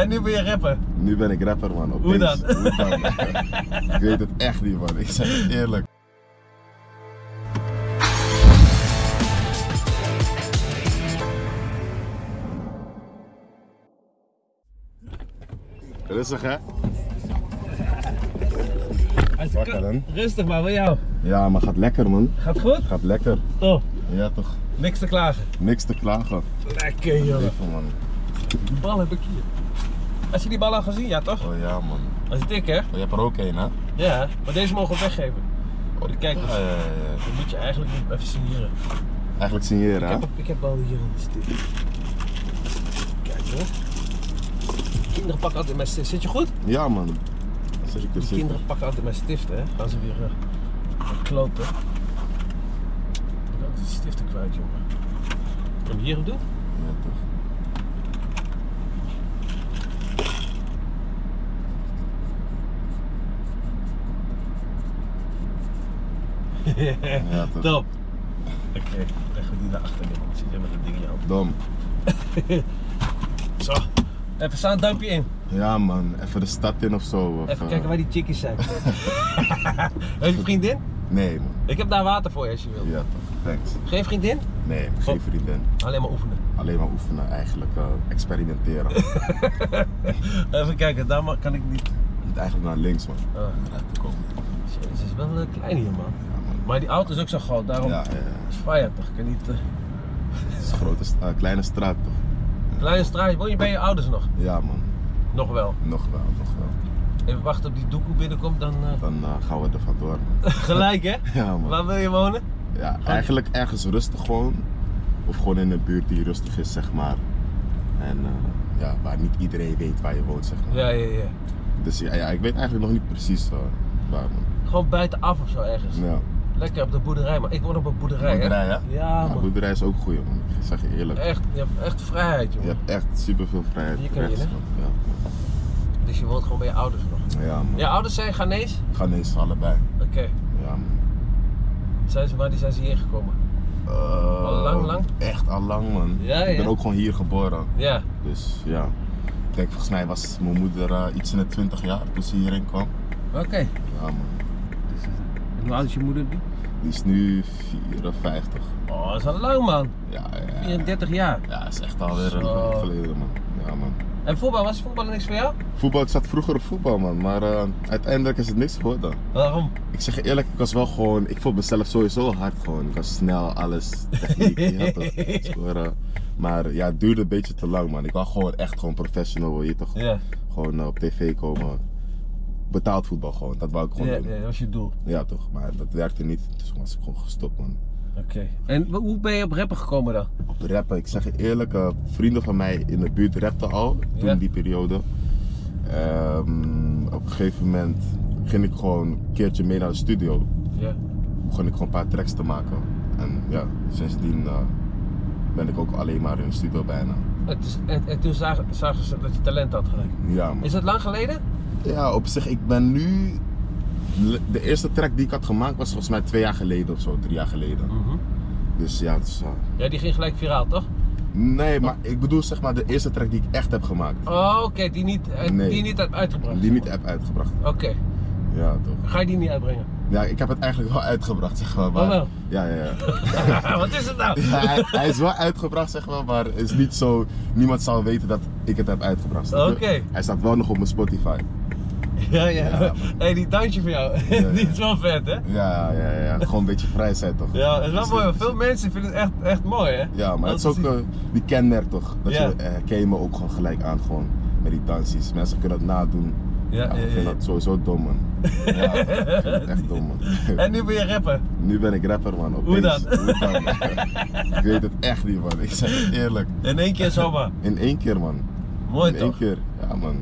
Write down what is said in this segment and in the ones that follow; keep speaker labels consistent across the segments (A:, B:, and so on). A: En nu ben je rapper.
B: Nu ben ik rapper, man.
A: Hoe
B: Opeens.
A: dan?
B: Hoe dan? ik weet het echt niet, man. Ik zeg het eerlijk. Rustig, hè? Wakker, dan.
A: Rustig maar, voor jou.
B: Ja, maar gaat lekker, man.
A: Gaat goed?
B: Gaat lekker.
A: Top.
B: Ja, toch?
A: Niks te klagen.
B: Niks te klagen.
A: Lekker joh.
B: Even, man.
A: Die bal heb ik hier. Als je die bal al gezien, ja toch?
B: Oh ja, man.
A: Dat is dik hè?
B: Oh, je hebt er ook één, hè?
A: Ja, maar deze mogen we weggeven. Oh, Voor de kijkers.
B: Ja, ja, ja.
A: Dan moet je eigenlijk niet even signeren.
B: Eigenlijk signeren, hè?
A: Ik, heb, ik heb al hier een stuk. Kijk hoor. Kinderen pakken altijd mijn stift. Zit je goed?
B: Ja, man. Dan zit ik er
A: Die
B: zitten.
A: kinderen pakken altijd mijn stift hè. Gaan ze weer eh, kloten. Ik ben altijd de stiften kwijt jongen. Kan je hem hier op doen?
B: Ja, toch. Ja, toch.
A: Top. Oké, leggen we die naar achteren. Dan zit je met dat ding in je hand.
B: Dom.
A: Zo. Even staan, duimpje in.
B: Ja, man. Even de stad in of zo. Of,
A: Even
B: eh,
A: kijken waar die chickies zijn. Heb je vriendin?
B: Nee, man.
A: Ik heb daar water voor je als je wil.
B: Ja, toch. Thanks.
A: Geen vriendin?
B: Nee, geen
A: Oh.
B: vriendin.
A: Alleen maar oefenen.
B: Alleen maar oefenen, eigenlijk. eh, experimenteren.
A: Even kijken, daar ma- kan ik niet.
B: Niet eigenlijk naar links, man.
A: Ah,
B: Om eruit te komen.
A: jezus, is wel een klein hier, man.
B: Ja, man.
A: Maar die auto is ook zo groot, daarom
B: Ja, ja, ja.
A: is fire toch? Ik Kan niet. eh,
B: Het is een grote, st- eh, kleine straat, toch?
A: Kleine straatje, woon je bij je ouders nog?
B: Ja, man.
A: Nog wel.
B: Nog wel, nog wel.
A: Even wachten op die doekoe binnenkomt, dan eh,
B: Dan eh, gaan we er vandoor, man.
A: gelijk hè?
B: Ja, man.
A: Waar wil je wonen?
B: Ja, eigenlijk ergens rustig gewoon. Of gewoon in een buurt die rustig is, zeg maar. En eh, ja, waar niet iedereen weet waar je woont, zeg maar.
A: Ja, ja, ja.
B: Dus ja, ja, ik weet eigenlijk nog niet precies eh, waar, man.
A: Gewoon buitenaf of zo ergens.
B: Ja.
A: Lekker op de boerderij, maar ik woon op een boerderij,
B: Boerderij,
A: hè?
B: hè?
A: Ja,
B: Ja,
A: man.
B: boerderij is ook goed, man. Ik zeg je eerlijk.
A: Echt, je hebt echt vrijheid,
B: Je
A: jongen.
B: hebt echt superveel vrijheid.
A: Hier kan je,
B: rechts,
A: hè?
B: man. Ja,
A: Dus je woont gewoon bij je ouders nog.
B: ja man.
A: Je ouders zijn Ghanese?
B: Ghanese allebei.
A: Oké.
B: Ja, man.
A: Zijn ze, waar die zijn ze hier gekomen?
B: Eh,
A: Al lang, lang?
B: Echt al lang, man.
A: Ja,
B: Ik ben
A: ja.
B: ook gewoon hier geboren.
A: Ja.
B: Dus ja. Ik denk, volgens mij was mijn moeder eh, iets in de 20 jaar toen ze hierheen kwam.
A: Oké. Dus, eh,
B: Ja, man.
A: En hoe oud is je moeder nu?
B: Die is nu 54.
A: Oh, dat is al lang, man.
B: Ja, ja. ja.
A: 34 jaar.
B: Ja, is echt alweer een
A: Zo.
B: week geleden, man. Ja, man.
A: En voetbal, was voetbal niks voor jou?
B: Voetbal, ik zat vroeger op voetbal, man. Maar eh, uiteindelijk is het niks geworden.
A: Waarom?
B: Ik zeg je eerlijk, ik was wel gewoon... Ik vond mezelf sowieso hard gewoon. Ik was snel, alles, techniek, je had het. Scoren. Maar ja, het duurde een beetje te lang, man. Ik wou gewoon echt gewoon professional, weet je toch?
A: Ja.
B: Gewoon eh, op tv komen. Betaald voetbal gewoon, dat wou ik gewoon
A: Ja,
B: doen.
A: ja, dat was je doel.
B: Ja, toch? Maar dat werkte niet, dus toen was ik gewoon gestopt, man.
A: Oké. En w- hoe ben je op rappen gekomen dan?
B: op rappen. Ik zeg je eerlijk, eh, vrienden van mij in de buurt rapten al toen
A: Ja.
B: die periode. Ehm, op een gegeven moment ging ik gewoon een keertje mee naar de studio.
A: Ja.
B: Begon ik gewoon een paar tracks te maken. En ja, sindsdien eh, ben ik ook alleen maar in de studio bijna.
A: En, t- en, en toen zagen, zagen ze dat je talent had gelijk.
B: Ja, man.
A: Is dat lang geleden?
B: ja, op zich, ik ben nu. De eerste track die ik had gemaakt was volgens mij twee jaar geleden of zo, drie jaar geleden.
A: Hm. Mhm.
B: Dus ja, het is. eh,
A: Ja, die ging gelijk viraal, toch?
B: nee, maar ik bedoel zeg maar de eerste track die ik echt heb gemaakt.
A: Oh, oké, die niet, eh,
B: Nee.
A: die niet hebt uitgebracht.
B: Die niet heb uitgebracht.
A: Oké,
B: Ja, toch.
A: ga je die niet uitbrengen?
B: Ja, ik heb het eigenlijk wel uitgebracht, zeg maar. maar-
A: Oh, wel?
B: Ja, ja, ja.
A: Wat is het nou?
B: Ja, hij, hij is wel uitgebracht, zeg maar, maar het is niet zo... Niemand zal weten dat ik het heb uitgebracht. snap je?
A: Oké.
B: Hij staat wel nog op mijn Spotify.
A: Ja, ja.
B: Ja, man.
A: Hé, hey, die tandje van jou,
B: ja.
A: die is wel vet, hè?
B: Ja, ja, ja. ja. Gewoon een beetje vrij zijn, toch?
A: Ja, het is wel
B: Dus,
A: mooi.
B: eh,
A: want Veel mensen vinden het echt, echt mooi, hè?
B: Ja, maar
A: Dat
B: het is ook
A: is-
B: eh, die kenmerk, toch? Dat
A: Ja.
B: je, eh, herken je me ook gewoon gelijk aan, gewoon met die dansies. Mensen kunnen dat nadoen.
A: Ja, ja,
B: ik
A: ja,
B: vind
A: ja.
B: dat sowieso dom, man. Ja, ik vind het echt dom, man.
A: En nu ben je rapper.
B: Nu ben ik rapper, man. Opeens,
A: Hoe dan?
B: Hoe dan? ik weet het echt niet, man. Ik zeg het eerlijk.
A: In één keer zomaar.
B: In één keer, man.
A: Mooi
B: In één
A: toch?
B: keer, ja man.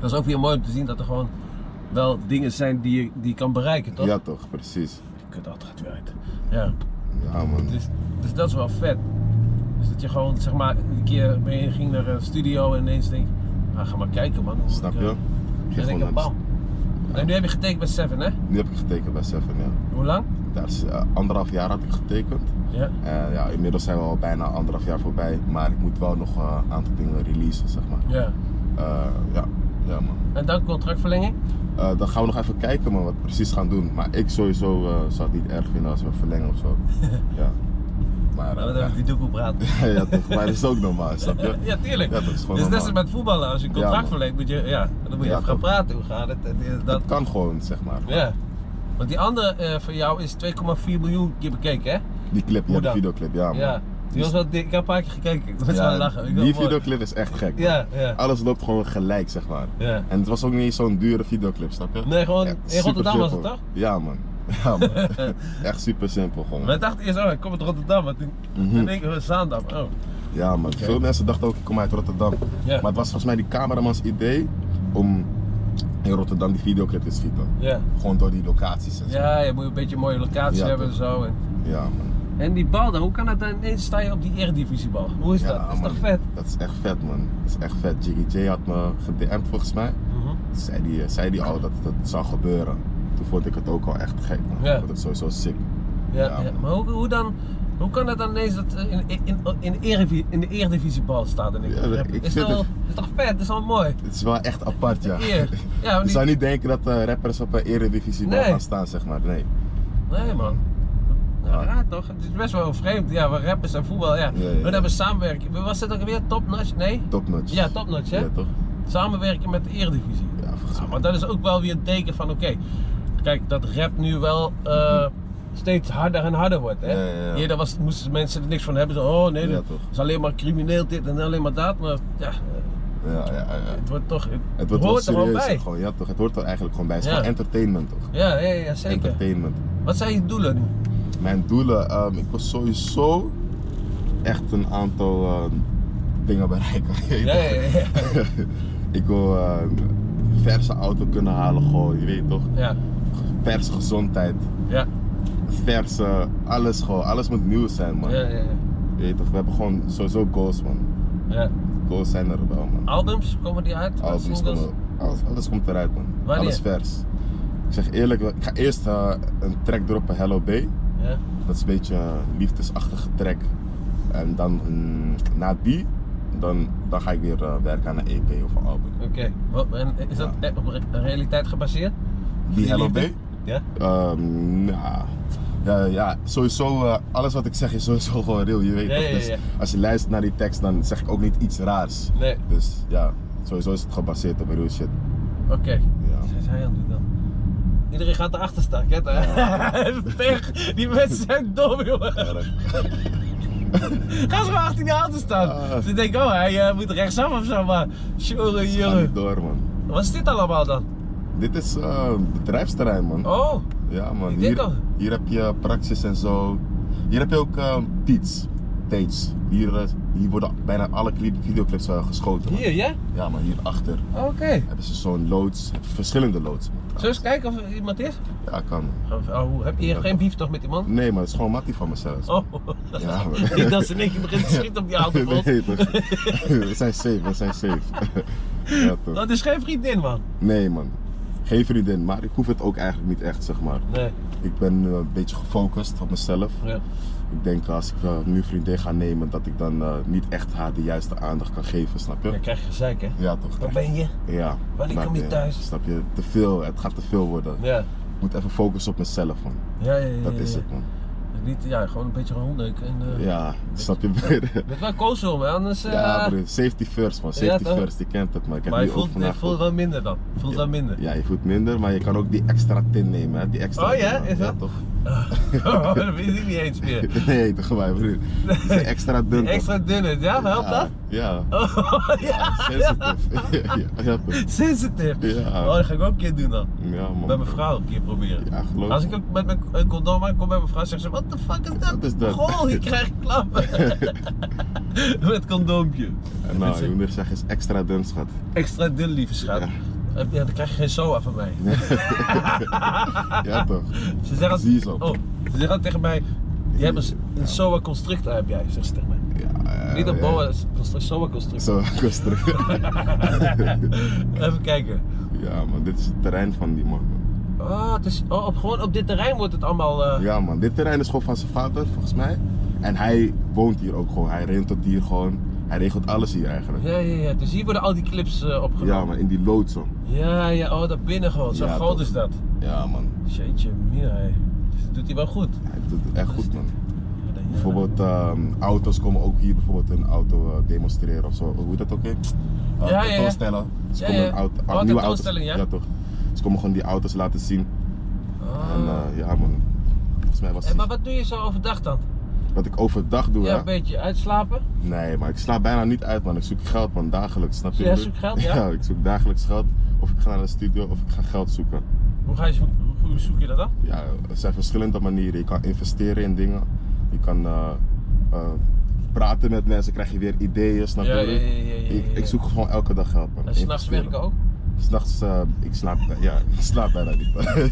A: Dat is ook weer mooi om te zien dat er gewoon wel dingen zijn die je, die je kan bereiken, toch?
B: Ja toch, precies.
A: Kut, dat gaat weer uit. Ja.
B: Ja man.
A: Dus, dus dat is wel vet. Dus dat je gewoon, zeg maar, een keer ben je, ging naar een studio en ineens denk ah, ga maar kijken man. hoe ik,
B: Snap
A: eh,
B: je? Ik
A: En ik
B: ging gewoon
A: heb
B: naar de-
A: bam. En nu heb je getekend bij Seven, hè?
B: Nu heb ik getekend bij Seven, ja.
A: Hoe lang?
B: Daar is, eh, anderhalf jaar had ik getekend.
A: Ja.
B: En ja, inmiddels zijn we al bijna anderhalf jaar voorbij. Maar ik moet wel nog eh, een aantal dingen releasen, zeg maar.
A: Ja.
B: Eh, ja, ja man.
A: En dan contractverlenging?
B: Eh, dan gaan we nog even kijken man, wat we precies gaan doen. Maar ik sowieso eh, zou het niet erg vinden als we verlengen of zo. ja. Maar, eh,
A: Nou, dan heb ik die doekoe praten.
B: ja, ja, toch, maar dat is ook normaal, snap je?
A: Ja, tuurlijk.
B: Ja, dat is gewoon
A: dus net
B: normaal.
A: als met voetballen, als je een
B: Ja,
A: contract
B: man.
A: verlengt, moet je, ja, dan moet je
B: Ja,
A: even gaan
B: toch.
A: praten. Hoe gaat het? En, eh, dat,
B: Dat kan gewoon, zeg maar.
A: ja. Want die andere eh, van jou is 2,4 miljoen keer bekeken, hè?
B: Die clip, ja,
A: Hoe
B: die
A: dan?
B: videoclip, ja man.
A: Ja. Die was wel dik. Ik heb een paar keer gekeken. Ik was
B: Ja,
A: wel lachen. Ik
B: die Ah.
A: wel mooi.
B: videoclip is echt gek. man.
A: Ja, ja.
B: Alles loopt gewoon gelijk, zeg maar.
A: ja.
B: En het was ook niet eens zo'n dure videoclip, snap je?
A: Nee, gewoon
B: Echt
A: in Rotterdam
B: super
A: was het
B: simpel.
A: toch?
B: Ja man. Ja man. echt super simpel gewoon.
A: Wij dachten eerst, oh, ik kom uit Rotterdam. Maar toen
B: Mhm.
A: toen denk ik, oh, Zaandam. Oh,
B: Ja man.
A: Oké.
B: Veel mensen dachten ook, ik kom uit Rotterdam.
A: ja.
B: Maar het was volgens mij die cameramans idee om in Rotterdam die videoclip te schieten.
A: ja.
B: Gewoon door die locaties en zo.
A: Ja, je moet een beetje een mooie locatie
B: Ja,
A: hebben en zo. En,
B: Ja, man.
A: en die bal dan, hoe kan dat dan ineens sta je op die eredivisiebal? Hoe is
B: Ja,
A: dat? Dat is
B: man.
A: toch vet?
B: Dat is echt vet man. Dat is echt vet. Jiggy J had me gedm'd volgens mij. Toen Zei die, eh, zei die al dat dat zou gebeuren. Toen vond ik het ook al echt gek man.
A: Ja.
B: Ik vond het sowieso sick.
A: Ja,
B: Ja,
A: ja.
B: man.
A: maar hoe, hoe dan, hoe kan dat dan ineens dat eh, in, in, in, eredivi- in de eredivisiebal staat? En ik,
B: Ja,
A: dat
B: ik
A: is,
B: vind
A: toch,
B: het-
A: is toch vet? Dat is wel mooi?
B: Het is wel echt apart ja.
A: Eer. Ja, maar
B: Je
A: die-
B: zou niet denken dat eh, rappers op een eredivisie
A: Nee.
B: gaan staan, zeg maar. Nee.
A: Nee man. Ja,
B: Ja.
A: raar toch? Het is best wel vreemd. Ja, we rappers en voetbal, ja.
B: ja,
A: We
B: ja.
A: hebben samenwerking. Was dat ook weer topnotch? Nee?
B: Topnotch.
A: Ja, topnotch hè? Ah,
B: Ja, toch?
A: Samenwerking met de Eredivisie.
B: Ja, volgens
A: Ja,
B: mij.
A: maar dat is ook wel weer een teken van, oké, kijk, dat rap nu wel eh, steeds harder en harder wordt. Hè?
B: Ja, ja, ja.
A: Eerder was, moesten mensen er niks van hebben. Zo, oh nee,
B: Ja,
A: dat
B: toch.
A: is alleen maar crimineel dit en alleen maar dat. Maar ja, eh,
B: Ja, ja, ja.
A: het wordt toch, het,
B: Het wordt wel
A: hoort er wel
B: serieus.
A: bij.
B: Gewoon, ja, toch? Het hoort er eigenlijk gewoon bij. Het is
A: Ja.
B: gewoon entertainment, toch?
A: Ja, ja, ja, zeker.
B: Entertainment.
A: Wat zijn je doelen nu?
B: Mijn doelen, ehm, ik wil sowieso echt een aantal ehm, dingen bereiken. Je weet
A: Ja,
B: toch?
A: ja, ja. ja.
B: ik wil eh, een verse auto kunnen halen, gewoon, je weet toch?
A: ja.
B: Verse gezondheid,
A: Ja,
B: verse, alles gewoon. Alles moet nieuw zijn, man.
A: ja, ja, ja.
B: Je weet toch? We hebben gewoon sowieso goals, man.
A: ja.
B: Goals zijn er wel, man.
A: Albums, komen die uit?
B: Albums
A: Singles?
B: komen, alles, alles komt eruit, man.
A: Wanneer?
B: Alles vers. Ik zeg eerlijk, ik ga eerst eh, een track droppen, Hello B.
A: Ja,
B: Dat is een beetje een liefdesachtige track. En dan mm, na die, dan, dan ga ik weer eh, werken aan een EP of een album.
A: oké. Wat- En is dat op re- realiteit gebaseerd?
B: Die Hello B?
A: liefde? Ja?
B: Ehm, nou, ja, ja, sowieso, eh, alles wat ik zeg is sowieso gewoon real, je weet
A: Ja,
B: toch?
A: ja, ja,
B: Dus
A: ja.
B: als je luistert naar die tekst, dan zeg ik ook niet iets raars.
A: Nee,
B: Dus ja, sowieso is het gebaseerd op real shit.
A: oké.
B: Ja.
A: Wat zijn zij aan het doen dan? Iedereen gaat erachter staan, hè? Pech, die mensen zijn dom, jongen. Ga ze maar achter die auto
B: Ja.
A: staan. Ze denken, oh, hij eh, moet rechtsaf of zo, maar... Sjoe,
B: Ik ga
A: jongen.
B: niet door, man.
A: Wat is dit allemaal dan?
B: Dit is eh, bedrijfsterrein, man.
A: Oh,
B: Ja, man.
A: Ik denk
B: Hier,
A: al.
B: hier heb je praxis en zo. Hier heb je ook ehm Tiets. Tates. Hier, eh, hier worden bijna alle clip- videoclips eh, geschoten. man.
A: hier, ja?
B: Ja, maar hierachter
A: Oké.
B: hebben ze zo'n loods. Verschillende loods. man.
A: Zullen we eens kijken of er iemand is?
B: Ja, kan.
A: Oh, heb je hier geen beef toch met die man?
B: Nee, maar het is gewoon mattie van mezelf.
A: Oh,
B: Ja, man.
A: niet dat ze in één keer begint te schieten op die auto. Bos.
B: Nee, toch. we zijn safe, we zijn safe. ja, toch.
A: Dat is geen vriendin, man.
B: Nee, man. Geen vriendin, maar ik hoef het ook eigenlijk niet echt, zeg maar.
A: Nee.
B: Ik ben nu een beetje gefocust op mezelf.
A: Ja.
B: Ik denk als ik eh, nu vriendin ga nemen, dat ik dan eh, niet echt haar de juiste aandacht kan geven, snap je?
A: Dan krijg je gezeik, hè?
B: Ja, toch?
A: Waar ben je?
B: Ja.
A: Wanneer
B: Maar,
A: kom je
B: eh,
A: thuis?
B: Snap je? Te veel, het gaat te veel worden.
A: Ja.
B: Ik moet even focussen op mezelf, man.
A: Ja, ja, ja. ja,
B: Dat is
A: ja.
B: het, man.
A: Niet, ja, gewoon een beetje rondleuk. En, eh,
B: Ja, snap je?
A: Met wel koos om, hè? Anders. eh,
B: ja, broer. Safety first, man.
A: Ja,
B: Safety
A: toch?
B: first, je kent het, man. Ik heb
A: Maar je
B: nu ook
A: voelt, je
B: vandaag
A: voelt wel minder dan. Je Voelt wel minder.
B: Ja, je voelt minder, maar je kan ook die extra tin nemen, hè. Die extra
A: Oh, ja?
B: tin, man.
A: Is dat?
B: Ja, toch?
A: dat weet ik niet eens meer.
B: Nee, toch, mij, broer. Het is een extra dun, toch?
A: Extra dunne, ja, helpt dat?
B: Ja.
A: Oh ja,
B: Sensitive. ja, ja, toch.
A: sensitive.
B: Ja.
A: Oh, dat ga ik ook een keer doen dan.
B: Ja, man.
A: Bij mijn vrouw een keer proberen.
B: Ja, geloof
A: Als
B: me.
A: ik ook met mijn een condoom aankom bij mijn vrouw, zegt ze: What the fuck is dat?
B: Wat is dat?"
A: Goh, je krijgt klappen. met condoompje.
B: En
A: Met
B: nou,
A: z'n-
B: je moet er zeggen, is extra dun, schat.
A: Extra dun, lieve schat.
B: Ja.
A: Eh, Ja, dan krijg je geen SOA van mij.
B: Ja, toch?
A: Ze zeggen
B: Zie je zo.
A: Oh, ze zeggen tegen mij. Je hebt een, s- een SOA constrictor heb jij, zegt ze tegen mij.
B: Ja, ja,
A: Niet een
B: Oh, ja.
A: boa, construct, SOA construct.
B: Zo, koster.
A: Even kijken.
B: Ja, man, dit is het terrein van die man. man.
A: Oh, het is, oh, op, gewoon op dit terrein wordt het allemaal. eh,
B: Ja, man, dit terrein is gewoon van zijn vader, volgens mij. En hij woont hier ook gewoon. Hij rent tot hier gewoon. Hij Hij regelt alles hier eigenlijk.
A: Ja, ja, ja. Dus hier worden al die clips eh,
B: Ja,
A: opgenomen.
B: maar in die loods, man.
A: Ja, ja. Oh, daar binnen gewoon. Zo
B: Ja,
A: groot
B: toch.
A: is dat.
B: Ja, man.
A: Jeetje, meer hé. Dus dat doet hij wel goed.
B: Hij doet het echt goed, man.
A: Ja, dan- ja,
B: Bijvoorbeeld ehm, auto's komen ook hier bijvoorbeeld een auto eh, demonstreren of zo. Hoe heet dat ook? hè? Eh,
A: Ja, ja, ja.
B: Tentoonstellen. Ze
A: Ja,
B: komen
A: ja.
B: een auto,
A: Oh,
B: nieuwe auto's.
A: tentoonstelling, ja.
B: toch. Ze komen gewoon die auto's laten zien.
A: dan-
B: En
A: Ah.
B: eh, ja, man. Volgens mij was
A: Hé, maar
B: het.
A: wat doe je zo overdag dan?
B: Wat ik overdag doe,
A: Ja,
B: hè?
A: een beetje uitslapen.
B: Nee, maar ik slaap bijna niet uit, man. Ik zoek geld, man. Dagelijks, snap je?
A: Jij
B: wat ik
A: zoekt
B: bedoel?
A: geld, ja?
B: Ja, ik zoek dagelijks geld. Of ik ga naar de studio of ik ga geld zoeken.
A: Hoe, ga je, zo- hoe, hoe zoek je dat dan?
B: Ja, er zijn verschillende manieren. Je kan investeren in dingen. Je kan eh, eh, praten met mensen, krijg je weer ideeën, snap je?
A: Ja,
B: wat
A: ja,
B: ik-
A: ja, ja, ja,
B: Ik,
A: ja.
B: ik zoek gewoon elke dag geld, man.
A: En s'nachts
B: Investeren.
A: werken ook?
B: S'nachts, eh, ik slaap, ja, ik slaap bijna niet. man.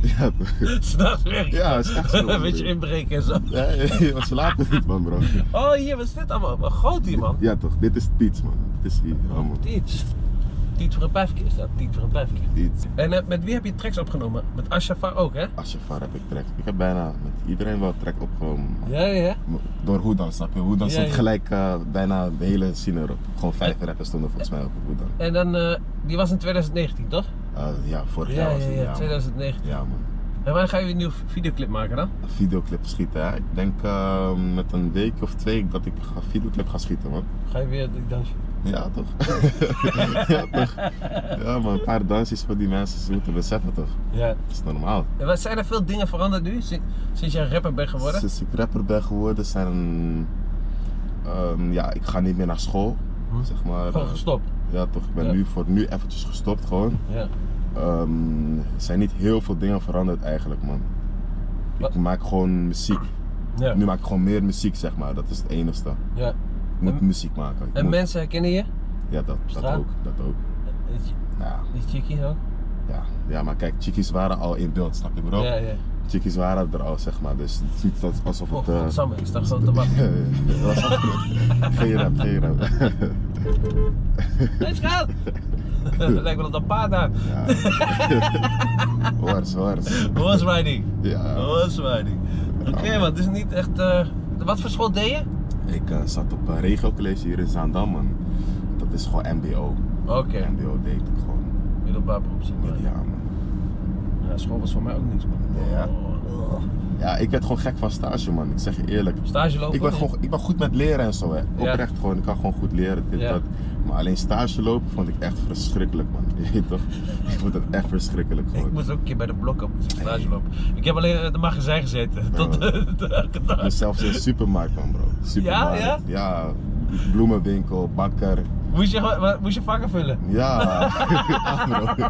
B: ja, toch?
A: S'nachts werken?
B: ja, is echt zo. man,
A: Een beetje
B: broer.
A: inbreken en zo.
B: Ja, we slapen niet, man, bro.
A: Oh, hier, wat is dit allemaal? Wat groot hier, man.
B: Ja, toch? Dit is Tiets, man. Dit is hier, oh, man.
A: Tiet. Tiet voor een pijfje is dat. Tiet voor een pijfje.
B: Tiets.
A: En eh, met wie heb je tracks opgenomen? Met Ashafar ook, hè?
B: Ashafar heb ik trek. Ik heb bijna met iedereen wel trek opgenomen. man.
A: Ja, ja, ja.
B: Door Hoedan, snap je? Hoedan
A: Ja,
B: stond
A: ja.
B: gelijk eh, bijna de hele scene erop. Gewoon vijf rappers stonden volgens mij op Hoedan.
A: En dan, eh, die was in 2019, toch?
B: Eh, ja, vorig
A: Ja,
B: jaar
A: ja,
B: was het.
A: ja,
B: man.
A: 2019.
B: Ja, man.
A: En wanneer ga je weer een nieuwe videoclip maken dan?
B: Een videoclip schieten, hè? Ik denk eh, met een week of twee dat ik een videoclip ga schieten, man.
A: Ga je weer die dansje?
B: Ja, toch? ja, toch? Ja, maar een paar dansjes voor die mensen, ze moeten beseffen, toch?
A: Ja.
B: Dat is normaal.
A: En wat zijn er veel dingen veranderd nu, sin- sinds jij rapper bent geworden?
B: Sinds ik rapper ben geworden, zijn... ehm, ja, ik ga niet meer naar school,
A: Hm.
B: zeg maar. Eh,
A: Gewoon gestopt.
B: Ja, toch? Ik ben
A: Ja.
B: nu voor nu eventjes gestopt, gewoon.
A: Ja.
B: Ehm, er zijn niet heel veel dingen veranderd eigenlijk, man.
A: Wat?
B: Ik maak gewoon muziek.
A: Ja.
B: Nu maak ik gewoon meer muziek, zeg maar. Dat is het enigste.
A: ja.
B: Ik moet
A: En-
B: muziek maken. Ik
A: En
B: moet-
A: mensen herkennen je?
B: Ja, dat, dat
A: Straat?
B: ook. Dat ook.
A: Eh, Die ch-
B: Ja,
A: Die chickie ook?
B: ja. ja, maar kijk, chickies waren al in beeld, snap je bro?
A: Ja, ja.
B: Chickies waren er al, zeg maar. Dus het is niet dat- alsof
A: Oh,
B: het... eh,
A: godsamme, ik sta gewoon te wachten.
B: dat was al goed. Geen rap, geen rap.
A: Hé, schat! Lijkt wel op dat paard daar.
B: Ja. Wars, wars.
A: Horse riding.
B: Ja.
A: Horse riding. Oké man, het is niet echt... eh, Wat voor school deed je?
B: Ik eh, zat op een regiocollege hier in Zaandam, man. Dat is gewoon MBO.
A: Oké,
B: MBO deed ik gewoon.
A: middelbaar beroep zeg maar.
B: Ja, man.
A: Ja, school was voor mij ook niks man.
B: Ja.
A: Oh. Oh.
B: Ja, ik werd gewoon gek van stage, man. Ik zeg je eerlijk.
A: Stage lopen?
B: Ik ben, gewoon, ik ben goed met leren en zo, hè. Oprecht gewoon. Ik kan gewoon goed leren, dit,
A: Ja.
B: dat. Maar alleen stage lopen vond ik echt verschrikkelijk, man. Je weet toch? Ik vond het echt verschrikkelijk,
A: Ik
B: gewoon.
A: moest ook een keer bij de blokken moest ik stage lopen. Ik heb alleen in de magazijn gezeten. Tot de elke
B: Ik
A: dag.
B: moest zelfs in de supermarkt, man, bro. Supermarkt.
A: Ja,
B: Ja, bloemenwinkel, bakker.
A: Moest je, gewoon- wa- moest je vakken vullen?
B: Ja. ja, bro.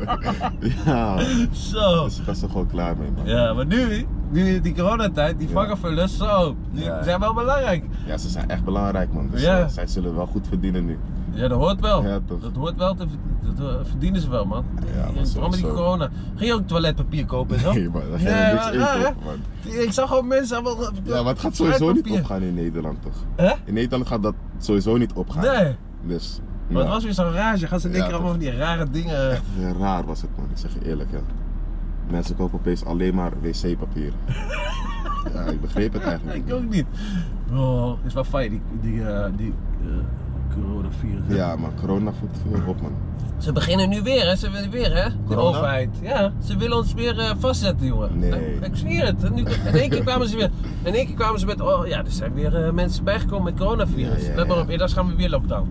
B: Ja.
A: Zo.
B: Dus ik was er gewoon klaar mee, man.
A: Ja, maar nu, nu die coronatijd, die
B: Ja.
A: vakken vullen, zo. Die
B: Ja.
A: zijn wel belangrijk.
B: Ja, ze zijn echt belangrijk, man. Dus
A: Ja.
B: eh, zij zullen wel goed verdienen nu.
A: Ja, dat hoort wel.
B: Ja, toch.
A: Dat hoort wel, te, verd- dat eh, verdienen ze wel, man.
B: Ja, maar
A: Vooral met die
B: sowieso.
A: corona. Ging je ook toiletpapier kopen en zo?
B: Nee, man. Daar ga
A: Nee,
B: je niks
A: maar
B: in
A: raar,
B: kopen, man.
A: Ik zag gewoon mensen allemaal...
B: Ja, maar het gaat sowieso niet
A: toiletpapier.
B: opgaan in Nederland, toch?
A: Hè?
B: In Nederland gaat dat sowieso niet opgaan.
A: Nee.
B: Dus,
A: Maar het
B: ja.
A: was weer zo'n rage. Gaan ze denken
B: Ja,
A: allemaal van die rare dingen. eh.
B: Ja, raar was het, man. Ik zeg je eerlijk, ja. Mensen kopen opeens alleen maar wc-papier. ja, ik begreep het eigenlijk
A: ik
B: niet.
A: ook niet. Oh, is wel fijn, die, die, eh, die eh, coronavirus.
B: Ja, maar corona voedt veel op, man.
A: Ze beginnen nu weer, hè? Ze willen weer, hè? De
B: Corona?
A: overheid. Ja, ze willen ons weer eh, vastzetten, jongen.
B: Nee.
A: Ik, ik zweer het. Nu, in één keer kwamen ze weer. In één keer kwamen ze met. Oh ja, er zijn weer eh, mensen bijgekomen met coronavirus.
B: Ja, ja,
A: Let maar
B: ja.
A: op, eerst gaan we weer lockdown.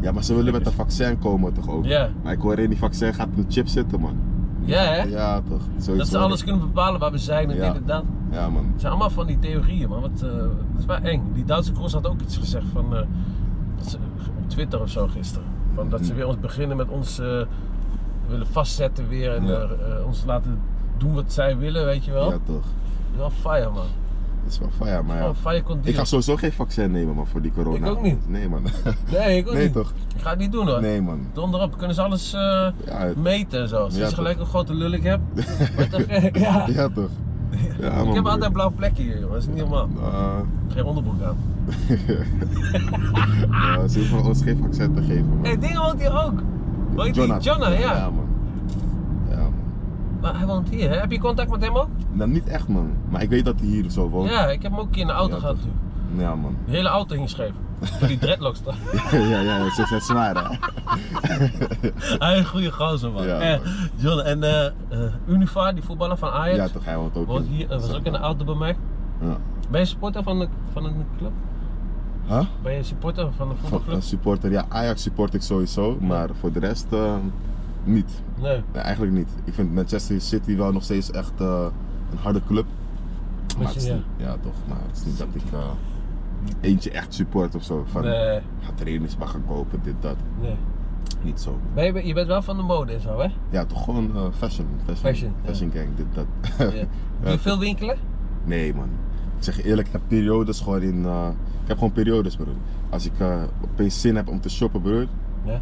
B: Ja, maar ze willen met een vaccin komen, toch ook?
A: Ja.
B: Maar ik hoor in die vaccin gaat een chip zitten, man.
A: Ja, hè?
B: Ja, toch? Sowieso.
A: dat ze alles kunnen bepalen waar we zijn en
B: Ja.
A: dit en dat.
B: Ja, man.
A: Het zijn allemaal van die theorieën, man. Wat, eh, dat is wel eng. Die Duitse cross had ook iets gezegd van. eh, dat ze, op Twitter of zo gisteren. Van
B: Hmm.
A: dat ze weer ons beginnen met ons eh, willen vastzetten weer. En
B: Ja.
A: eh, eh, ons laten doen wat zij willen, weet je wel.
B: Ja, toch?
A: Dat is wel fire, man.
B: Dat is wel fire, maar ja.
A: Oh, fire conditie.
B: Ik ga sowieso geen vaccin nemen, man, voor die corona.
A: Ik ook niet.
B: Nee, man.
A: Nee, ik ook
B: Nee,
A: niet.
B: toch?
A: Ik ga het niet doen hoor.
B: Nee, man.
A: Donder op, kunnen ze alles eh,
B: Ja, het-
A: meten en zo. Sinds
B: Ja,
A: je
B: toch.
A: gelijk een grote lul ik heb. Wat een gek, ja.
B: Ja, toch? Ja, man.
A: ik heb
B: broer.
A: altijd blauwe plekken hier, jongen. Dat is niet normaal.
B: Eh,
A: Geen onderbroek aan.
B: ja, ze hoeven ons geen vaccin te geven, man.
A: Hé, hey, dingen woont hier ook. Hoe heet die?
B: Jonah.
A: Jonah, ja.
B: Ja, man. Ja, man.
A: Maar hij woont hier, hè? Heb je contact met hem ook?
B: Nou, niet echt, man. Maar ik weet dat hij hier zo woont.
A: Ja, ik heb hem ook een keer in de auto
B: Oh. Ja,
A: gehad.
B: toch. Ja, man.
A: De hele auto hing scheef. Door die dreadlocks toch?
B: ja, ja, ze zijn zwaar, hè?
A: Hij is een goede gozer, man.
B: Ja,
A: Eh,
B: man.
A: John, en eh eh, Unifa, die voetballer van Ajax,
B: Ja, toch, hij hoort ook
A: woont
B: in-
A: hier, eh, was ook in de auto bij mij.
B: Ja.
A: Ben je supporter van, de, van een club?
B: Huh?
A: Ben je supporter van een
B: Van-
A: voetbalclub?
B: Een supporter, ja, Ajax support ik sowieso, maar voor de rest eh, niet.
A: Nee.
B: Nee, eigenlijk niet. Ik vind Manchester City wel nog steeds echt eh, een harde club. Maar het is
A: ja.
B: niet, ja, toch, maar het is niet dat ik eh, eentje echt support of zo. Van
A: Nee,
B: ga trainers maar gaan kopen, dit, dat.
A: nee.
B: Niet zo.
A: Ben je, je bent wel van de mode en zo, hè?
B: Ja, toch gewoon eh, fashion. Fashion,
A: Fashion, ja.
B: gang, dit, dat.
A: Ja. Doe je veel winkelen?
B: Nee, man. Ik zeg je eerlijk, ik heb periodes gewoon in. eh, ik heb gewoon periodes, broer. Als ik eh, opeens zin heb om te shoppen, broer,
A: Ja.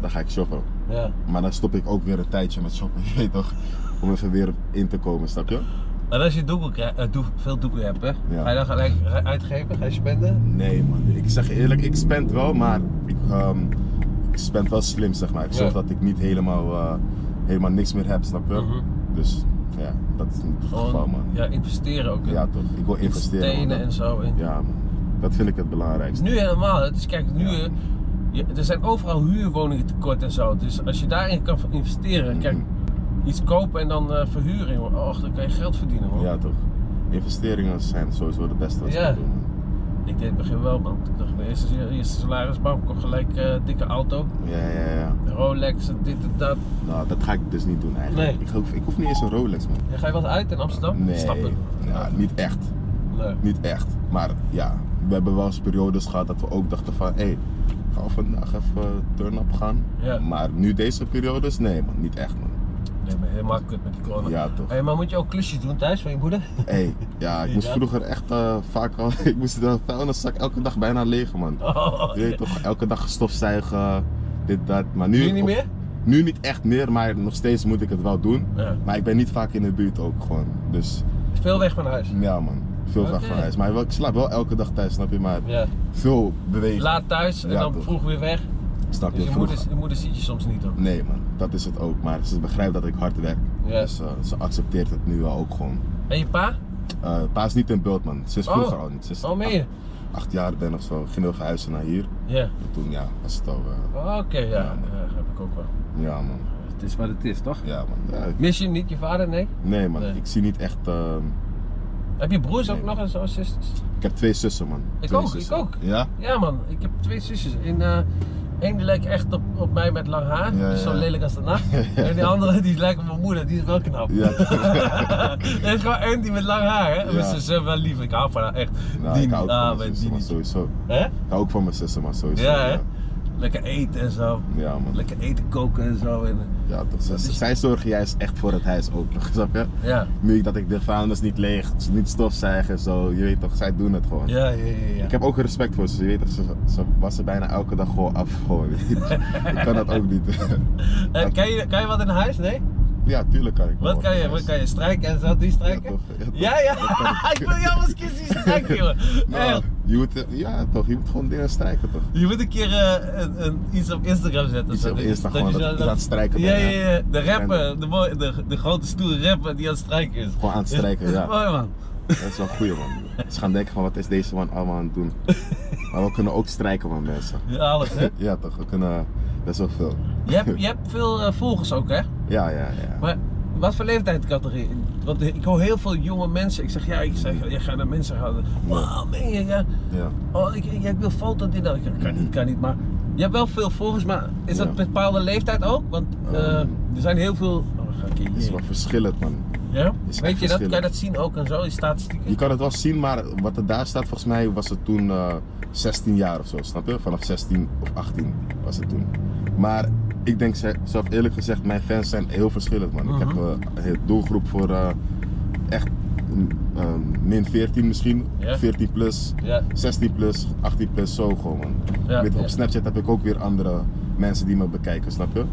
B: dan ga ik shoppen.
A: ja.
B: Maar dan stop ik ook weer een tijdje met shoppen, je weet toch? Om even weer in te komen, snap je?
A: En als je doekoe krijgt, eh, doe- veel doekoe hebt, hè? Ga je dan gelijk uitgeven? Ga je spenden?
B: Nee, man. Ik zeg je eerlijk, ik spend wel, maar ik, ehm, ik spend wel slim, zeg maar. Ik zorg
A: Ja.
B: dat ik niet helemaal, eh, helemaal niks meer heb, snap je?
A: Mhm.
B: Dus ja, dat is niet het
A: Gewoon,
B: geval, man.
A: ja, investeren ook. in
B: Ja, toch? Ik wil investeren. man.
A: Stenen en zo. En
B: Ja, man. Dat vind ik het belangrijkste.
A: Nu helemaal. Het is, kijk, nu,
B: Ja.
A: eh, je- er zijn overal huurwoningen tekort en zo. Dus als je daarin kan
B: Mhm.
A: investeren, kijk, iets kopen en dan eh, verhuren, jongen. Och, dan kan je geld verdienen, man.
B: Ja, toch? Investeringen zijn sowieso de beste wat je
A: Ja.
B: kan doen. man.
A: Ik deed het begin wel, man. Ik dacht, mijn eerste, eerste salaris, bam, kocht gelijk eh, dikke auto.
B: Ja, ja, ja.
A: Rolex, en dit en dat.
B: Nou, dat ga ik dus niet doen eigenlijk.
A: Nee.
B: Ik, hoef, ik hoef niet eens een Rolex, man.
A: En ga je wat uit in Amsterdam?
B: Nee.
A: Stappen.
B: Ja, niet echt.
A: Nee.
B: Niet echt. Maar ja, we hebben wel eens periodes gehad dat we ook dachten van... Hé, hey, gaan we vandaag even turn-up gaan?
A: Ja.
B: Maar nu deze periodes? Nee, man. Niet echt, man.
A: Nee, maar helemaal kut met die corona.
B: Ja, toch.
A: Hey, maar moet je ook klusjes doen thuis van je moeder?
B: hey, ja, ik moest
A: Ja.
B: vroeger echt eh, vaak al... ik moest de vuilniszak elke dag bijna leeg, man.
A: Oh,
B: Je weet toch, elke dag stofzuigen, dit, dat. Maar nu...
A: Nu niet
B: op-
A: meer?
B: Nu niet echt meer, maar nog steeds moet ik het wel doen.
A: Ja.
B: Maar ik ben niet vaak in de buurt ook gewoon. Dus
A: Veel weg van huis.
B: ja man, veel vraag
A: Oké.
B: van huis. Maar wel- ik slaap wel elke dag thuis, snap je? Maar
A: Ja.
B: veel bewegen,
A: Laat thuis en
B: Ja,
A: dan
B: toch.
A: vroeg weer weg.
B: snap je?
A: Dus je
B: Vroeg-
A: moeder, je moeder ziet je soms niet ook.
B: Nee man, dat is het ook. Maar ze begrijpt dat ik hard werk.
A: Ja.
B: Dus eh, ze accepteert het nu wel ook gewoon.
A: En je pa?
B: Eh pa is niet in beeld man, sinds
A: Oh.
B: vroeger al niet. Sinds
A: Oh, meen
B: ik
A: je?
B: acht, acht jaar ben of zo, gingen we verhuizen naar hier.
A: Ja. Oh,
B: En toen ja, was het al... eh,
A: Oké, ja. Ja, heb ik ook wel.
B: ja man,
A: Het is wat het is, toch?
B: ja man. Ja, ik-
A: Mis je niet je vader? Nee.
B: nee man,
A: Nee.
B: ik zie niet echt... eh,
A: Heb je broers ook
B: Nee.
A: nog en zo, zusters?
B: ik heb twee zussen man.
A: Ik
B: Twee
A: ook, ik
B: zussen.
A: ook.
B: Ja?
A: Ja, man. Ik heb twee zusjes. En, eh Eén die lijkt echt op, op mij met lang haar,
B: Ja,
A: die is zo
B: ja.
A: lelijk als de nacht. En die andere die lijkt op mijn moeder, die is wel knap.
B: Ja.
A: Er is gewoon één die met lang haar, hè?
B: Ja.
A: Mijn zus is wel lief, ik hou van haar echt.
B: Nou, ik hou ook
A: ah,
B: van mijn
A: maar
B: zussen,
A: die
B: maar
A: niet.
B: sowieso.
A: Hè?
B: Ik hou ook van mijn zussen, maar sowieso.
A: Ja, hè?
B: ja.
A: Lekker eten en zo.
B: Ja, man.
A: Lekker eten koken en zo. En,
B: Ja, toch. Ze-
A: is-
B: Zij zorgen juist echt voor het huis ook, snap je?
A: ja.
B: Nu ik dat ik de vuilnis niet leeg, niet stofzuigen, zo. Je weet toch, zij doen het gewoon.
A: Ja, ja, ja. ja.
B: Ik heb ook respect voor ze, je weet toch, ze, ze wassen bijna elke dag gewoon af. Gewoon. ik kan dat ook niet.
A: Eh, kan, je, kan je wat in huis? Nee?
B: ja, tuurlijk kan ik. wel
A: Wat kan je? Wat kan je? Strijken en zo? Die
B: Ja,
A: strijken?
B: toch. Ja, toch.
A: Ja, ja. ik wil jou als kind zien strijken, jongen.
B: Nou,
A: Echt.
B: je moet, ja, toch, je moet gewoon dingen strijken, toch?
A: Je moet een keer eh, een, een- iets op Instagram zetten.
B: Iets
A: zo.
B: op
A: Dat-
B: Instagram,
A: je
B: dat-
A: zo-
B: dat aan het strijken
A: Ja,
B: ben,
A: ja,
B: ja.
A: ja. De rapper, de, mooi- de, de grote stoere rapper die aan het strijken is.
B: Gewoon aan het strijken,
A: Is- is
B: ja.
A: Mooi man.
B: Dat is wel een goeie, man. Ze gaan denken van, wat is deze man allemaal aan het doen? Maar we kunnen ook strijken, man, mensen.
A: Ja, alles hè.
B: Ja, toch, we kunnen best wel veel.
A: Je hebt, je hebt veel eh, volgers ook hè.
B: Ja, ja, ja.
A: Maar wat voor leeftijdscategorie? Want ik hoor heel veel jonge mensen. Ik zeg ja, ik zeg, je gaat naar mensen gaan. Wow, meen je? Ja.
B: ja.
A: Oh, ik, ik, ik wil foto dit dat. Ik zeg, Kan niet, kan niet. Maar je hebt wel veel volgers, maar is dat
B: Ja.
A: een bepaalde leeftijd ook? Want eh,
B: Ehm.
A: er zijn heel veel. Oh, ga ik hier-
B: Het is wel verschillend, man.
A: Ja?
B: is
A: Weet
B: echt
A: je dat? Kan je
B: verschillend.
A: dat zien ook en zo, die statistieken?
B: Je kan het wel zien, maar wat er daar staat, volgens mij was het toen eh, 16 jaar of zo, snap je? Vanaf 16 of 18 was het toen. Maar ik denk ze- zelf eerlijk gezegd, mijn fans zijn heel verschillend, man. Ik
A: Mhm.
B: heb eh, een doelgroep voor eh, echt mm, ehm, min 14 misschien,
A: Ja.
B: 14 plus,
A: Ja. Oh,
B: 16 plus, 18 plus, zo gewoon, man.
A: Ja,
B: Ik weet,
A: ja.
B: Op Snapchat heb ik ook weer andere mensen die me bekijken, snap je?
A: Oh,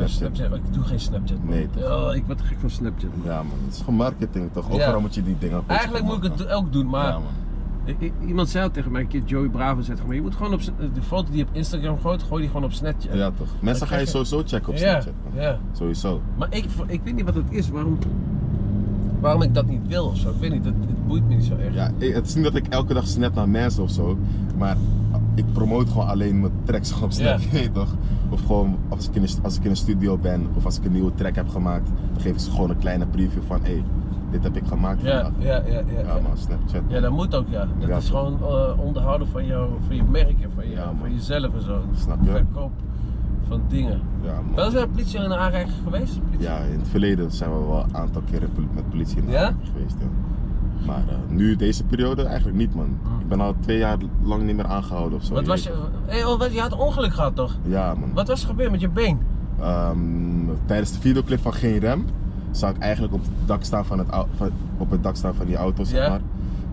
A: ja, Snapchat. Ik doe geen Snapchat. man.
B: Nee, toch?
A: Oh, ik word gek van Snapchat. man.
B: Ja man, het is gewoon marketing toch? Overal
A: Ja.
B: moet je die dingen posten,
A: Eigenlijk moet ik
B: man.
A: het ook doen, maar
B: Ja man.
A: I- i- Iemand zei al tegen mij een keer, Joey Bravo zegt maar je moet gewoon op s- de foto die je op Instagram gooit, gooi die gewoon op Snapchat.
B: Ja toch. Mensen ga
A: krijg
B: je
A: je-
B: sowieso checken op
A: ja,
B: Snapchat man.
A: ja.
B: Sowieso.
A: Maar ik, ik weet niet wat het is, waarom, waarom ik dat niet wil of zo. Ik weet niet, het, het boeit me niet zo erg.
B: Ja, ik- het is niet dat ik elke dag snap naar mensen of zo. Maar ik promote gewoon alleen mijn tracks gewoon op Snap,
A: Ja.
B: je weet toch? Of gewoon als ik, in een, st- als ik in een studio ben of als ik een nieuwe track heb gemaakt, dan geef ik ze gewoon een kleine preview van hé, hey, dit heb ik gemaakt
A: Ja,
B: vandaag.
A: ja, ja, ja.
B: Ja,
A: ja.
B: man, Snapchat.
A: Ja, dat moet ook, ja. Dat
B: Ja.
A: is gewoon eh, onderhouden van, jou, van je merk en van, je,
B: Ja, man.
A: van jezelf en zo.
B: Snap je?
A: Verkoop van dingen.
B: Ja, man.
A: Wel is de politie in aanraking geweest? Politie?
B: Ja, in het verleden zijn we wel een aantal keren pol- met politie in
A: Ja?
B: aanraking geweest. Ja. Maar eh, nu, deze periode, eigenlijk niet, man.
A: Hm.
B: Ik ben al twee jaar lang niet meer aangehouden of zo.
A: Wat was je... Hé, oh, wat, je had een ongeluk gehad toch?
B: Ja, man.
A: Wat was er gebeurd met je been?
B: Ehm, tijdens de videoclip van Geen Rem zou ik eigenlijk op het dak staan van, het, au- van, op het dak staan van die auto, zeg
A: Ja.
B: maar.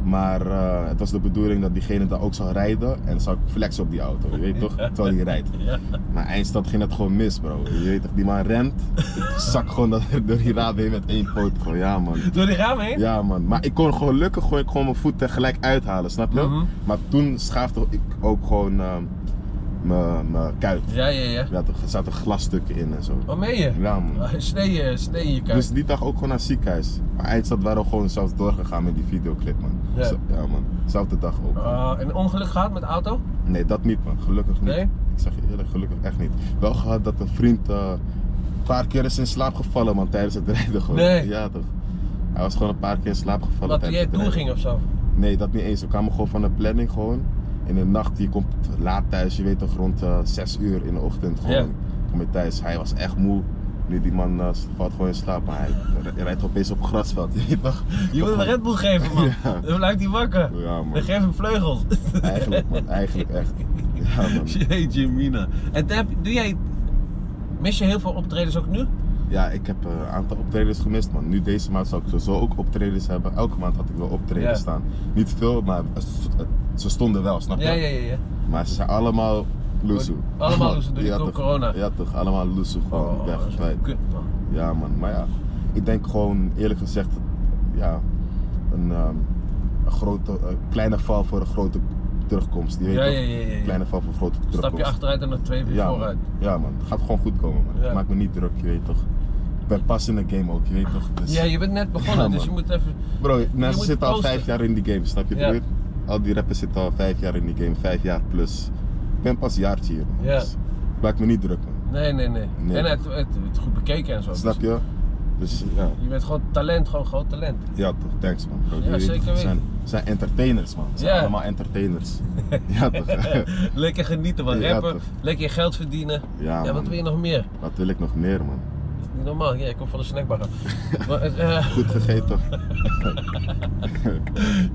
B: Maar eh, het was de bedoeling dat diegene daar ook zou rijden en dan zou ik flexen op die auto, je weet toch? Terwijl hij rijdt.
A: Ja.
B: Maar eindstad ging dat gewoon mis, bro. Je weet toch, die man remt. Ik zak gewoon dat, door die raam heen met één poot. Gewoon, ja, man.
A: Door die ramen heen?
B: Ja, man. Maar ik kon gewoon gelukkig gooi ik gewoon mijn voet tegelijk uithalen, snap je?
A: Mhm.
B: Maar toen schaafde ik ook gewoon ehm, mijn mijn kuit.
A: Ja, ja, ja.
B: Ja, toch, er zaten glasstukken in en zo.
A: Wat meen je?
B: Ja, man.
A: Ah, Snee je, snee je kuit.
B: Dus die dag ook gewoon naar het ziekenhuis. Maar eindstad waren we gewoon zelfs doorgegaan met die videoclip, man.
A: Ja.
B: Zo- ja man. Zelfde dag ook.
A: Ah, een ongeluk gehad met de auto?
B: Nee, dat niet, man. Gelukkig niet.
A: Nee?
B: Ik zeg je eerlijk, gelukkig echt niet. Wel gehad dat een vriend eh, een paar keer is in slaap gevallen, man, tijdens het rijden gewoon.
A: Nee.
B: Ja, toch. Hij was gewoon een paar keer in slaap gevallen
A: Wat
B: tijdens
A: jij
B: het
A: toe
B: rijden.
A: ging of zo?
B: Nee, dat niet eens. We kwamen gewoon van de planning gewoon. In de nacht, je komt laat thuis, je weet toch rond eh 6 uur in de ochtend gewoon.
A: Ja.
B: Kom je thuis, hij was echt moe. Nu die man eh, valt gewoon in slaap, maar hij r- rijdt opeens op het grasveld. Je weet toch?
A: Je moet hem een Red Bull geven, man.
B: Ja.
A: Dan blijft hij wakker.
B: Ja
A: Dan
B: man,
A: geef hem vleugels.
B: eigenlijk man, eigenlijk echt. Ja man.
A: Jeetje mina. En heb, doe jij, mis je heel veel optredens ook nu?
B: Ja, ik heb eh, een aantal optredens gemist man. Nu deze maand zou ik sowieso ook optredens hebben. Elke maand had ik wel optredens
A: Ja.
B: staan. Niet veel, maar eh, s- eh, ze stonden wel, snap je?
A: Ja, ja, ja. ja.
B: Maar ze zijn allemaal loesoe.
A: Allemaal loesoe, door die
B: toch,
A: corona. Oh,
B: Ja toch, allemaal loesoe gewoon. Oh, ik ben
A: dat is
B: kwijt.
A: kut man.
B: Ja man, maar ja. Ik denk gewoon eerlijk gezegd, ja, een, ehm, een grote, een kleine val voor een grote terugkomst. Je weet
A: Ja,
B: toch?
A: ja, ja, ja, ja.
B: Kleine val voor een grote terugkomst.
A: Stap je achteruit en dan twee weer
B: ja,
A: vooruit.
B: Man. Ja man, het gaat gewoon goed komen man.
A: Ja.
B: Maak me niet druk, je weet toch. Ik ben pas in de game ook, je weet toch. Dus,
A: Ja, je bent net begonnen,
B: Ja,
A: dus je
B: man.
A: moet even.
B: Bro, mensen
A: moet
B: zitten al
A: posten.
B: vijf jaar in die game, snap je?
A: Ja.
B: broer? Al die rappers zitten al vijf jaar in die game, vijf jaar plus. Ik ben pas een jaartje hier. man.
A: Ja.
B: Dus maak me niet druk man.
A: Nee, nee, nee.
B: Nee.
A: En het, het, het goed bekeken en zo.
B: Snap je? Dus ja.
A: Je bent gewoon talent, gewoon groot talent.
B: Ja, toch, thanks man. Bro,
A: Ja,
B: Je weet
A: zeker
B: toch, het zijn,
A: weten.
B: het zijn entertainers man. Het zijn
A: Ja.
B: allemaal entertainers. ja, toch?
A: Lekker genieten van
B: Ja,
A: rappen,
B: toch.
A: lekker je geld verdienen.
B: ja,
A: Ja,
B: man.
A: wat wil je nog meer?
B: Wat wil ik nog meer man?
A: Dat is niet normaal. Ja, ik kom van de snackbar. af. maar, het, eh,
B: Goed gegeten.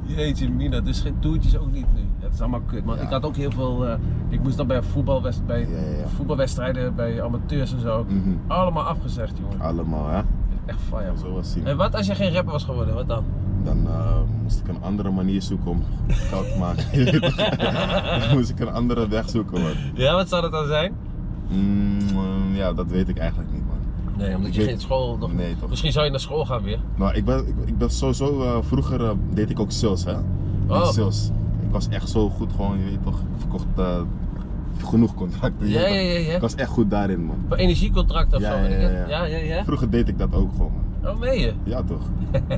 A: Jeetje mina, dus geen toertjes ook niet nu. Het is allemaal kut, man.
B: Ja.
A: Ik had ook heel veel, eh, ik moest dan bij, voetbalwest, bij
B: Ja, ja, ja.
A: voetbalwedstrijden, bij amateurs en zo.
B: Mhm.
A: Allemaal afgezegd, jongen.
B: Allemaal hè.
A: Echt fire, man.
B: Ah. Zo was zien.
A: En wat als je geen rapper was geworden, wat dan?
B: Dan eh, moest ik een andere manier zoeken om geld te maken. Je weet toch? dan moest ik een andere weg zoeken man.
A: Ja, wat zou dat dan zijn?
B: Mm, ja, dat weet ik eigenlijk niet man.
A: Nee, omdat je
B: Ik-
A: geen school nog...
B: Nee toch.
A: Misschien zou je naar school gaan weer.
B: Nou, ik ben, ik, ik ben sowieso, eh, vroeger eh, deed ik ook sales, hè?
A: Oh.
B: Ik sales. Ik was echt zo goed gewoon, je weet toch, ik verkocht eh, genoeg contracten. je
A: Ja,
B: weet
A: ja,
B: toch.
A: ja, ja.
B: Ik was echt goed daarin, man.
A: Voor energiecontract of
B: Ja,
A: zo.
B: ja,
A: weet ik het.
B: ja,
A: ja,
B: ja.
A: ja.
B: Vroeger deed ik dat ook gewoon, man.
A: Oh, meen je?
B: Ja, toch?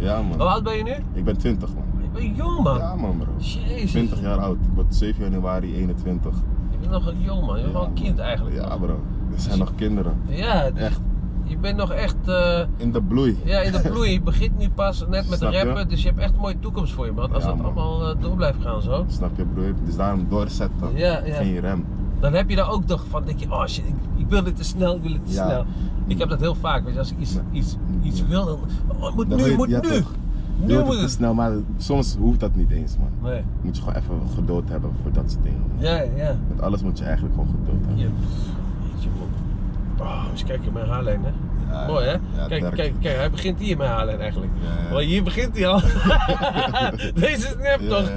B: Ja,
A: Hoe
B: man.
A: oud ben je nu?
B: Ik ben 20, man.
A: Je bent jong, man.
B: Ja, man, bro.
A: Oh. Jezus.
B: 20 jaar oud. Ik word 7 januari 21.
A: Je bent nog een jong, man. Je bent nog
B: Ja,
A: een kind
B: man.
A: eigenlijk.
B: Ja,
A: nog.
B: bro. We zijn nog kinderen.
A: Ja, het is-
B: Echt.
A: Je bent nog echt... eh,
B: In de bloei.
A: Ja, in de bloei. Je begint nu pas net met
B: Snap je?
A: rappen, dus je hebt echt een mooie toekomst voor je, man. Als
B: Ja,
A: dat
B: man.
A: allemaal eh, door blijft gaan zo.
B: Snap je, broer? Dus daarom doorzetten.
A: Ja, ja.
B: Geen rem.
A: Dan heb je daar ook toch van, denk je, oh shit, ik, ik wil dit te snel, ik wil dit te
B: Ja.
A: snel. Ik heb dat heel vaak, weet je, als ik iets, iets, iets wil, dan, oh, het moet
B: Dan
A: nu,
B: weet-
A: het moet
B: ja,
A: nu.
B: toch. Je
A: Nu moet
B: wordt het te
A: het.
B: snel, maar soms hoeft dat niet eens, man.
A: Nee,
B: moet je gewoon even geduld hebben voor dat soort dingen.
A: ja, ja.
B: Met alles moet je eigenlijk gewoon geduld hebben.
A: Hier. Jeetje, man. Oh, eens kijken in mijn haarlijn, hè.
B: Ja,
A: Mooi, hè?
B: ja,
A: kijk,
B: sterk.
A: kijk, kijk, hij begint hier in mijn haarlijn eigenlijk.
B: Ja, ja.
A: Want hier begint hij al. Deze is nep, toch?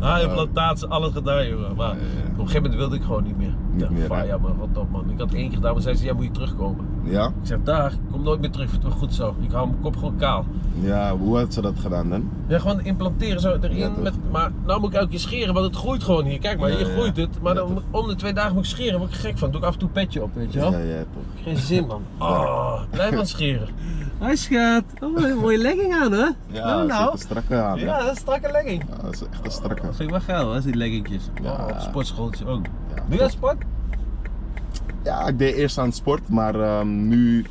A: Haarimplantaten, alles Ah, gedaan, jongen. Maar
B: Ja, ja, ja.
A: op een gegeven moment wilde ik gewoon niet meer.
B: Niet
A: Ja,
B: meer,
A: fuck,
B: hè?
A: Ja, man, wat op, man. Ik had één keer gedaan, maar zei ze, ja, moet je terugkomen.
B: ja?
A: Ik zeg, daar, ik kom nooit meer terug. Vind het wel goed zo. Ik hou mijn kop gewoon kaal.
B: Ja, hoe had ze dat gedaan dan?
A: Ja, gewoon implanteren zo erin.
B: Ja, toch.
A: met, maar nou moet ik elke keer scheren, want het groeit gewoon hier. Kijk maar,
B: Ja,
A: hier
B: ja.
A: groeit het. Maar
B: Ja,
A: dan,
B: toch.
A: om de twee dagen moet ik scheren, word ik gek van. Doe ik af en toe een petje op, weet je wel.
B: Ja, ja, toch.
A: Geen zin, man. Oh, blijf aan het scheren. Hij schat. Oh, mooie legging aan, hè?
B: nou,
A: nou.
B: Ja, het zit er strak uit, aan. hè?
A: Ja, dat is een strakke legging.
B: Ja, dat is echt een strakke.
C: Dat vind ik wel geil, hè, die leggingjes.
B: Ja.
A: Ja. Op sportschooltje ook.
B: Ja.
A: Doe jij sport?
B: Ja, ik deed eerst aan sport, maar ehm, nu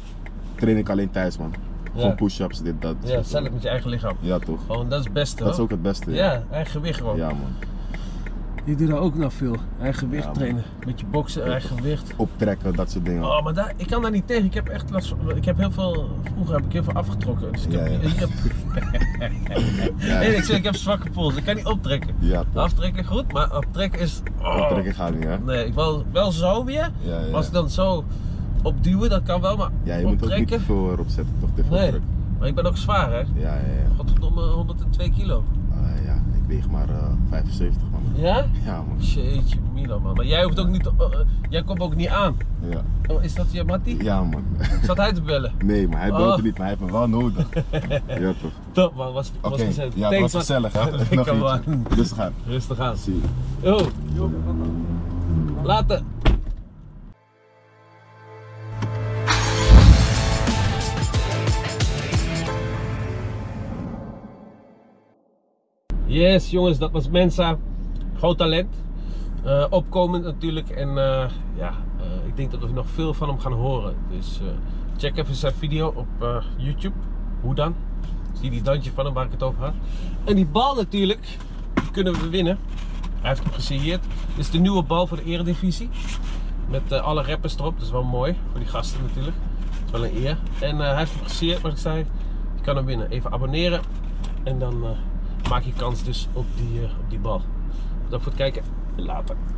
B: train ik alleen thuis, man. Gewoon push-ups, dit, dat.
A: Ja, zelf
B: soort dingen.
A: met je eigen lichaam.
B: Ja, toch.
A: Gewoon, dat is het beste.
B: Dat is
A: hoor.
B: ook het beste.
A: Ja, eigen gewicht gewoon.
B: Ja, man.
A: Je doet daar ook nog veel. Eigen gewicht
B: Ja, man.
A: trainen. Met je boksen, eigen gewicht.
B: Optrekken, dat soort dingen.
A: Oh, maar daar, ik kan daar niet tegen. Ik heb echt last van. Ik heb heel veel. Vroeger heb ik heel veel afgetrokken. Dus ik heb.
B: Ja, ja.
A: Ik heb
B: Ja,
A: nee, ik, zeg, ik heb zwakke pols. Ik kan niet optrekken.
B: ja toch.
A: Aftrekken goed, maar optrekken is. oh.
B: Optrekken gaat niet, hè?
A: Nee, ik wil wel zo weer.
B: Ja, ja,
A: Maar
B: ja.
A: als ik dan zo opduwen, dat kan wel, maar
B: Ja, je moet ook niet te
A: optrekken.
B: veel eh, erop zetten, toch? Te veel
A: nee,
B: druk.
A: maar ik ben ook zwaar, hè?
B: Ja, ja, ja.
A: Godverdomme, 102 kilo.
B: Ah, ja, ik weeg maar eh, 75, man.
A: Ja?
B: Ja, man.
A: Jeetje, Milan, man. Maar jij hoeft ook niet. te- eh, eh, jij komt ook niet aan.
B: Ja,
A: Oh, is dat je Mattie?
B: ja man.
A: Zat hij te bellen?
B: Nee, maar hij belt
A: Oh.
B: er niet, maar hij heeft me wel nodig. Ja, toch.
A: Top, man. Was, was
B: Oké,
A: gezellig.
B: ja, het
A: Thanks,
B: was
A: man.
B: gezellig, hè? Nog
A: Lekker,
B: eentje.
A: man.
B: Dus gaan.
A: Rustig aan.
B: Zie je.
A: Yo. Later. Yes, jongens, dat was Mensa. Groot talent. Eh, opkomend natuurlijk. En eh, ja, eh, ik denk dat we nog veel van hem gaan horen. Dus eh, check even zijn video op eh, YouTube. Hoe dan? Zie die dansje van hem waar ik het over had. En die bal natuurlijk, die kunnen we winnen. Hij heeft hem gesigneerd. Dit is de nieuwe bal voor de eredivisie. Met eh, alle rappers erop. Dat is wel mooi. Voor die gasten natuurlijk. Dat is wel een eer. En eh, hij heeft hem gesigneerd, wat ik zei. Je kan hem winnen. Even abonneren. En dan eh, maak je kans dus op die, eh, op die bal. Bedankt voor het kijken. En later.